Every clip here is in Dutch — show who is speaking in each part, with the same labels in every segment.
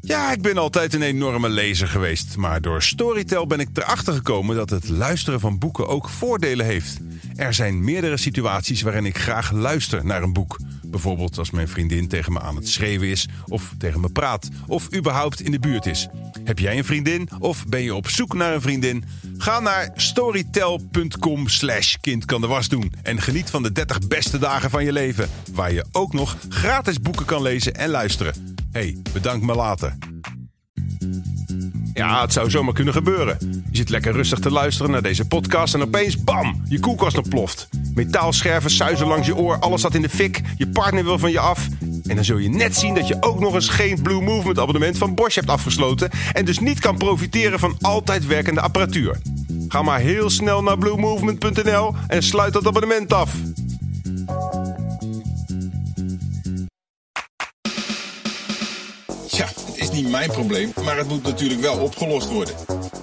Speaker 1: Ja, ik ben altijd een enorme lezer geweest. Maar door Storytel ben ik erachter gekomen dat het luisteren van boeken ook voordelen heeft. Er zijn meerdere situaties waarin ik graag luister naar een boek. Bijvoorbeeld als mijn vriendin tegen me aan het schreeuwen is, of tegen me praat, of überhaupt in de buurt is. Heb jij een vriendin of ben je op zoek naar een vriendin? Ga naar storytel.com slash kind kan de was doen en geniet van de 30 beste dagen van je leven. Waar je ook nog gratis boeken kan lezen en luisteren. hey, bedankt me later. Ja, het zou zomaar kunnen gebeuren. Je zit lekker rustig te luisteren naar deze podcast en opeens, bam, je koelkast ontploft. Metaalscherven suizen langs je oor, alles staat in de fik, je partner wil van je af. En dan zul je net zien dat je ook nog eens geen Blue Movement abonnement van Bosch hebt afgesloten en dus niet kan profiteren van altijd werkende apparatuur. Ga maar heel snel naar bluemovement.nl en sluit dat abonnement af.
Speaker 2: Ja, het is niet mijn probleem, maar het moet natuurlijk wel opgelost worden.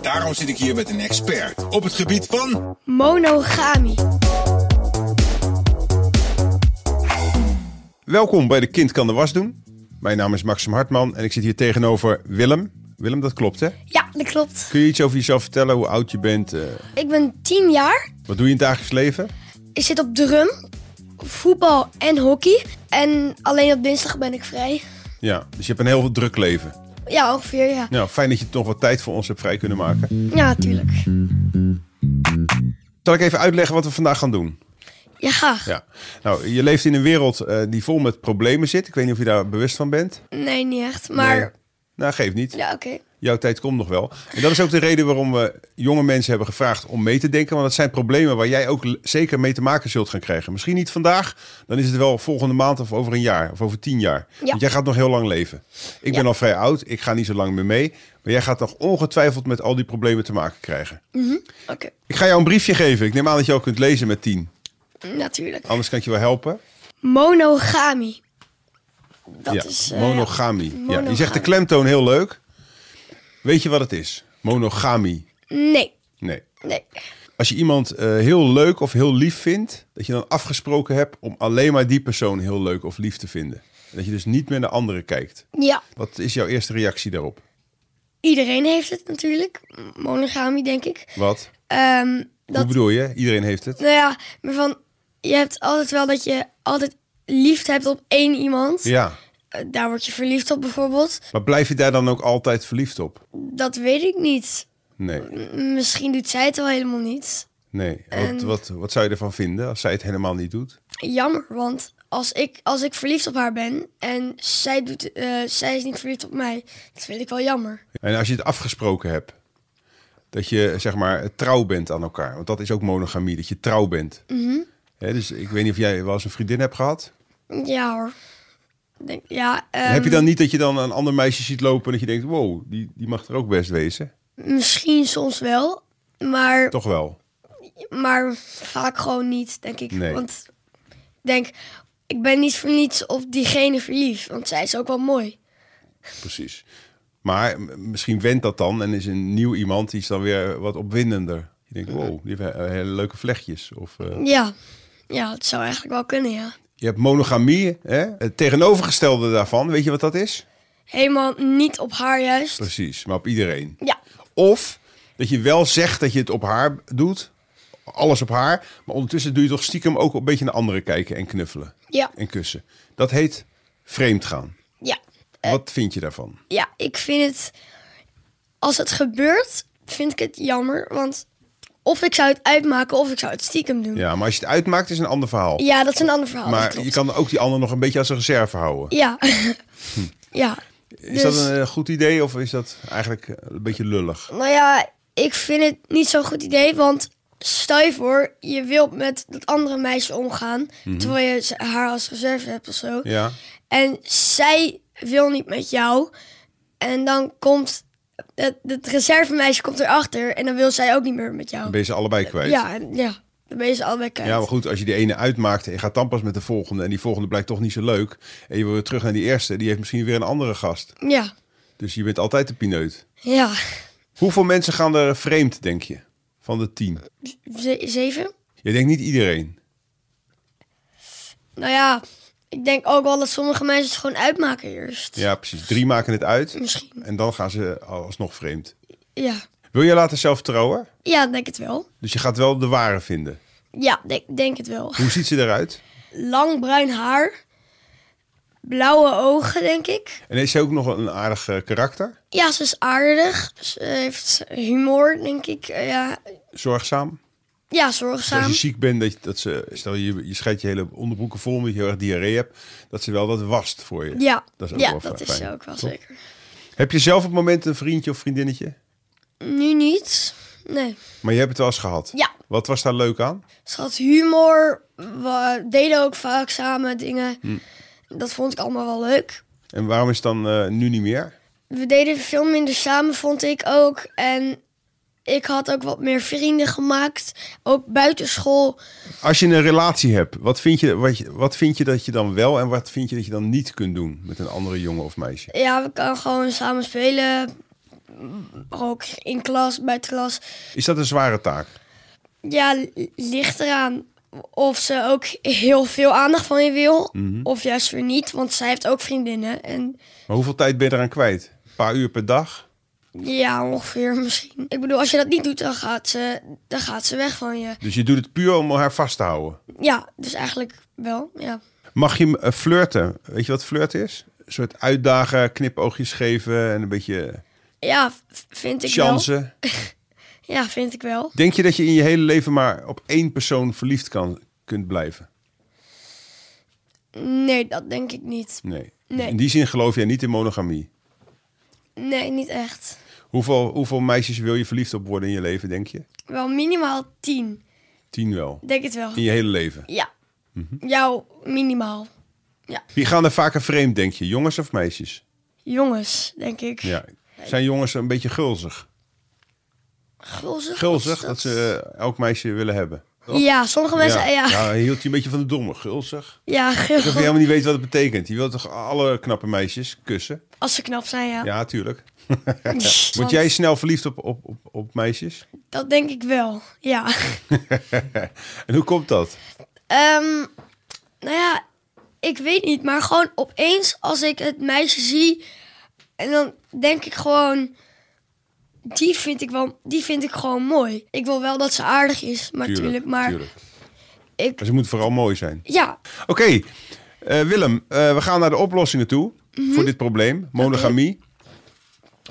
Speaker 2: Daarom zit ik hier met een expert op het gebied van.
Speaker 3: Monogamie.
Speaker 1: Welkom bij de Kind kan de was doen. Mijn naam is Maxim Hartman en ik zit hier tegenover Willem. Willem, dat klopt hè?
Speaker 3: Ja, dat klopt.
Speaker 1: Kun je iets over jezelf vertellen, hoe oud je bent? eh,
Speaker 3: Ik ben 10 jaar.
Speaker 1: wat doe je in het dagelijks leven?
Speaker 3: Ik zit op drum, voetbal en hockey. En alleen op dinsdag ben ik vrij.
Speaker 1: Ja, dus je hebt een heel druk leven.
Speaker 3: Ja, ongeveer, ja.
Speaker 1: Nou, fijn dat je toch wat tijd voor ons hebt vrij kunnen maken.
Speaker 3: Ja, tuurlijk.
Speaker 1: Zal ik even uitleggen wat we vandaag gaan doen?
Speaker 3: Ja, graag.
Speaker 1: Ja. Nou, je leeft in een wereld eh, die vol met problemen zit. Ik weet niet of je daar bewust van bent.
Speaker 3: Nee, niet echt. Maar
Speaker 1: Nee. Nou, geeft niet.
Speaker 3: ja, oké.
Speaker 1: Jouw tijd komt nog wel. En dat is ook de reden waarom we jonge mensen hebben gevraagd om mee te denken. Want het zijn problemen waar jij ook l- zeker mee te maken zult gaan krijgen. Misschien niet vandaag, dan is het wel volgende maand of over een jaar of over tien jaar.
Speaker 3: Ja.
Speaker 1: Want jij gaat nog heel lang leven. Ik ben al vrij oud, ik ga niet zo lang meer mee. Maar jij gaat nog ongetwijfeld met al die problemen te maken krijgen.
Speaker 3: Oké,
Speaker 1: Ik ga jou een briefje geven. Ik neem aan dat je al kunt lezen met tien.
Speaker 3: natuurlijk.
Speaker 1: Anders kan ik je wel helpen.
Speaker 3: Monogamie. Dat is... eh,
Speaker 1: monogamie. Ja, je zegt de
Speaker 3: Monogamie.
Speaker 1: klemtoon heel leuk. Weet je wat het is? Monogamie.
Speaker 3: Nee,
Speaker 1: Nee.
Speaker 3: nee.
Speaker 1: Als je iemand eh, heel leuk of heel lief vindt, dat je dan afgesproken hebt om alleen maar die persoon heel leuk of lief te vinden. En Dat je dus niet meer naar anderen kijkt.
Speaker 3: Ja,
Speaker 1: Wat is jouw eerste reactie daarop?
Speaker 3: iedereen heeft het natuurlijk. Monogamie, denk ik.
Speaker 1: Wat?
Speaker 3: Ehm,
Speaker 1: Hoe
Speaker 3: dat,
Speaker 1: bedoel je? Iedereen heeft het.
Speaker 3: nou ja, maar van... Je hebt altijd wel dat je altijd liefde hebt op één iemand.
Speaker 1: Ja.
Speaker 3: Eh, Daar word je verliefd op bijvoorbeeld.
Speaker 1: Maar blijf je daar dan ook altijd verliefd op?
Speaker 3: Dat weet ik niet.
Speaker 1: Nee.
Speaker 3: M- Misschien doet zij het wel helemaal niet.
Speaker 1: Nee. Wat, wat, wat zou je ervan vinden als zij het helemaal niet doet?
Speaker 3: Jammer, want als ik, als ik verliefd op haar ben en zij, doet, eh, zij is niet verliefd op mij, dat vind ik wel jammer.
Speaker 1: En als je het afgesproken hebt, dat je zeg maar trouw bent aan elkaar. Want dat is ook monogamie, dat je trouw bent. Hè, dus ik weet niet of jij wel eens een vriendin hebt gehad.
Speaker 3: Ja hoor. Ik Denk, ja, ehm,
Speaker 1: Heb je dan niet dat je dan een ander meisje ziet lopen en dat je denkt, wow, die, die mag er ook best wezen?
Speaker 3: ehm, Misschien soms wel, maar,
Speaker 1: Toch wel.
Speaker 3: maar vaak gewoon niet, denk ik.
Speaker 1: Nee.
Speaker 3: Want ik denk, ik ben niet voor niets op diegene verliefd, want zij is ook wel mooi.
Speaker 1: Precies. Maar m- misschien wendt dat dan en is een nieuw iemand, die is dan weer wat opwindender. Je denkt, wow, die heeft eh, hele leuke vlechtjes. Of, eh,
Speaker 3: Ja, ja het zou eigenlijk wel kunnen, ja.
Speaker 1: Je hebt monogamie, hè? het tegenovergestelde daarvan, weet je wat dat is?
Speaker 3: Helemaal niet op haar juist.
Speaker 1: Precies, maar op iedereen.
Speaker 3: Ja,
Speaker 1: Of dat je wel zegt dat je het op haar doet, alles op haar, maar ondertussen doe je toch stiekem ook een beetje naar anderen kijken en knuffelen
Speaker 3: ja,
Speaker 1: en kussen. Dat heet vreemdgaan.
Speaker 3: ja.
Speaker 1: Wat vind je daarvan?
Speaker 3: Ja, ik vind het. Als het gebeurt, vind ik het jammer. Want of ik zou het uitmaken of ik zou het stiekem doen. Ja,
Speaker 1: Ja, maar als je het uitmaakt is een ander verhaal.
Speaker 3: dat is een ander verhaal. dat
Speaker 1: maar
Speaker 3: klopt.
Speaker 1: je kan ook die ander nog een beetje als een reserve houden.
Speaker 3: Ja.
Speaker 1: Hm.
Speaker 3: ja. dus-
Speaker 1: Is dat een eh, goed idee of is dat eigenlijk eh, een beetje lullig?
Speaker 3: Nou ja, ik vind het niet zo'n goed idee. Want stel je voor, je wilt met dat andere meisje omgaan. Terwijl je ze- haar als reserve hebt of zo.
Speaker 1: Mhm. Ja.
Speaker 3: En zij wil niet met jou. En dan komt. Het, het reservemeisje komt erachter. En dan wil zij ook niet meer met jou.
Speaker 1: Dan ben je ze allebei kwijt.
Speaker 3: Ja, en- ja. Dan ben je ze allebei kwijt.
Speaker 1: Ja, maar goed, als je die ene uitmaakt en je gaat dan pas met de volgende en die volgende blijkt toch niet zo leuk en je wil weer terug naar die eerste, die heeft misschien weer een andere gast.
Speaker 3: ja.
Speaker 1: Dus je bent altijd de pineut.
Speaker 3: Ja.
Speaker 1: Hoeveel mensen gaan er vreemd, denk je, van de tien?
Speaker 3: Ze- zeven?
Speaker 1: Je denkt niet iedereen.
Speaker 3: Nou ja, ik denk ook wel dat sommige mensen het gewoon uitmaken eerst.
Speaker 1: Ja, precies. Drie maken het uit.
Speaker 3: Misschien.
Speaker 1: En dan gaan ze alsnog vreemd.
Speaker 3: Ja.
Speaker 1: Wil je later zelf trouwen?
Speaker 3: Ja, denk het wel.
Speaker 1: Dus je gaat wel de ware vinden.
Speaker 3: Ja, denk, denk het wel.
Speaker 1: Hoe ziet ze eruit?
Speaker 3: Lang bruin haar. Blauwe ogen, denk ik.
Speaker 1: En heeft ze ook nog een aardig eh, karakter?
Speaker 3: Ja, ze is aardig. Ze heeft humor, denk ik. Eh, ja,
Speaker 1: Zorgzaam?
Speaker 3: ja,
Speaker 1: Als
Speaker 3: zorgzaam.
Speaker 1: je ziek bent, dat, je, dat ze, stel je, je scheidt je hele onderbroeken vol omdat je heel erg diarree hebt, dat ze wel wat wast voor je.
Speaker 3: Ja,
Speaker 1: dat is ook
Speaker 3: ja
Speaker 1: wel
Speaker 3: dat is
Speaker 1: fijn,
Speaker 3: ook wel
Speaker 1: toch?
Speaker 3: zeker.
Speaker 1: Heb je zelf op het moment een vriendje of vriendinnetje?
Speaker 3: Nu niet. Nee.
Speaker 1: Maar je hebt het wel eens gehad.
Speaker 3: Ja.
Speaker 1: Wat was daar leuk aan?
Speaker 3: Ze had humor. We deden ook vaak samen dingen.
Speaker 1: Hm.
Speaker 3: Dat vond ik allemaal wel leuk.
Speaker 1: En waarom is het dan eh, nu niet meer?
Speaker 3: We deden veel minder samen, vond ik ook. En ik had ook wat meer vrienden gemaakt. Ook buitenschool.
Speaker 1: Als je een relatie hebt, wat vind, je, wat, je- wat vind je dat je dan wel en wat vind je dat je dan niet kunt doen met een andere jongen of meisje?
Speaker 3: Ja, we kunnen gewoon samen spelen. Ook in klas, buiten klas.
Speaker 1: Is dat een zware taak?
Speaker 3: Ja, l- ligt eraan of ze ook heel veel aandacht van je wil. Of juist weer niet, want zij heeft ook vriendinnen. En
Speaker 1: Maar hoeveel tijd ben je eraan kwijt? Een paar uur per dag?
Speaker 3: Ja, ongeveer misschien. Ik bedoel, als je dat niet doet, dan gaat ze, dan gaat ze weg van je.
Speaker 1: Dus je doet het puur om haar vast te houden.
Speaker 3: Ja, dus eigenlijk wel, ja.
Speaker 1: Mag je eh, flirten? Weet je wat flirten is? Een soort uitdagen, knipoogjes geven en een beetje
Speaker 3: Ja, v- vind ik wel.
Speaker 1: chansen.
Speaker 3: Ja, vind ik wel.
Speaker 1: Denk je dat je in je hele leven maar op één persoon verliefd kan, kunt blijven?
Speaker 3: Nee, dat denk ik niet.
Speaker 1: Nee. Dus
Speaker 3: Nee.
Speaker 1: In die zin geloof jij niet in monogamie.
Speaker 3: Nee, niet echt.
Speaker 1: Hoeveel, hoeveel meisjes wil je verliefd op worden in je leven, denk je?
Speaker 3: Wel minimaal tien.
Speaker 1: Tien wel.
Speaker 3: Denk het wel.
Speaker 1: In je hele leven.
Speaker 3: Ja.
Speaker 1: Mhm.
Speaker 3: Jou minimaal.
Speaker 1: Wie gaan er vaker vreemd, denk je? Jongens of meisjes?
Speaker 3: Jongens, denk ik.
Speaker 1: Ja. Zijn jongens een beetje gulzig?
Speaker 3: Gulzig.
Speaker 1: Gulzig,
Speaker 3: wat
Speaker 1: dat
Speaker 3: is
Speaker 1: ze eh, elk meisje willen hebben.
Speaker 3: Ja, sommige mensen... Ja, ja.
Speaker 1: hij hield je een beetje van de domme. Gulzig.
Speaker 3: gul-
Speaker 1: Dat je helemaal niet weet wat het betekent. Je wilt toch alle knappe meisjes kussen?
Speaker 3: Als ze knap zijn, ja.
Speaker 1: Ja, tuurlijk. Word
Speaker 3: Want-
Speaker 1: jij snel verliefd op, op, op, op meisjes?
Speaker 3: Dat denk ik wel, ja.
Speaker 1: En hoe komt dat?
Speaker 3: Ehm, nou ja, ik weet niet, maar gewoon opeens als ik het meisje zie en dan denk ik gewoon, die vind ik wel, die vind ik gewoon mooi. Ik wil wel dat ze aardig is, maar tuurlijk, maar
Speaker 1: tuurlijk.
Speaker 3: ik-
Speaker 1: Maar ze moet vooral mooi zijn.
Speaker 3: ja,
Speaker 1: Oké, eh, Willem, eh, we gaan naar de oplossingen toe
Speaker 3: Mhm.
Speaker 1: voor dit probleem. Monogamie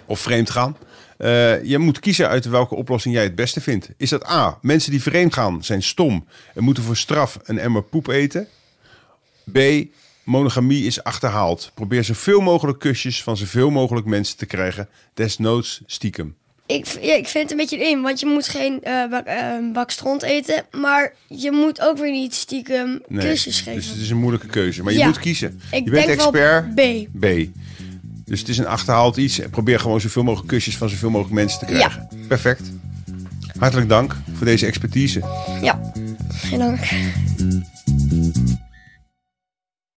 Speaker 1: of vreemd gaan. Eh, je moet kiezen uit welke oplossing jij het beste vindt. Is dat A, mensen die vreemd gaan zijn stom en moeten voor straf een emmer poep eten? B, monogamie is achterhaald. Probeer zoveel mogelijk kusjes van zoveel mogelijk mensen te krijgen. Desnoods stiekem.
Speaker 3: ik, ja, ik vind het een beetje in, want je moet geen eh, bak, eh, bak stront eten, maar je moet ook weer niet stiekem kusjes geven.
Speaker 1: Dus het is een moeilijke keuze. Maar je
Speaker 3: Ja.
Speaker 1: moet kiezen.
Speaker 3: Ik
Speaker 1: je bent
Speaker 3: denk wel
Speaker 1: expert.
Speaker 3: B.
Speaker 1: B. Dus het is een achterhaald iets. En Probeer gewoon zoveel mogelijk kusjes van zoveel mogelijk mensen te krijgen. Perfect. Hartelijk dank voor deze expertise.
Speaker 3: Ja, geen dank.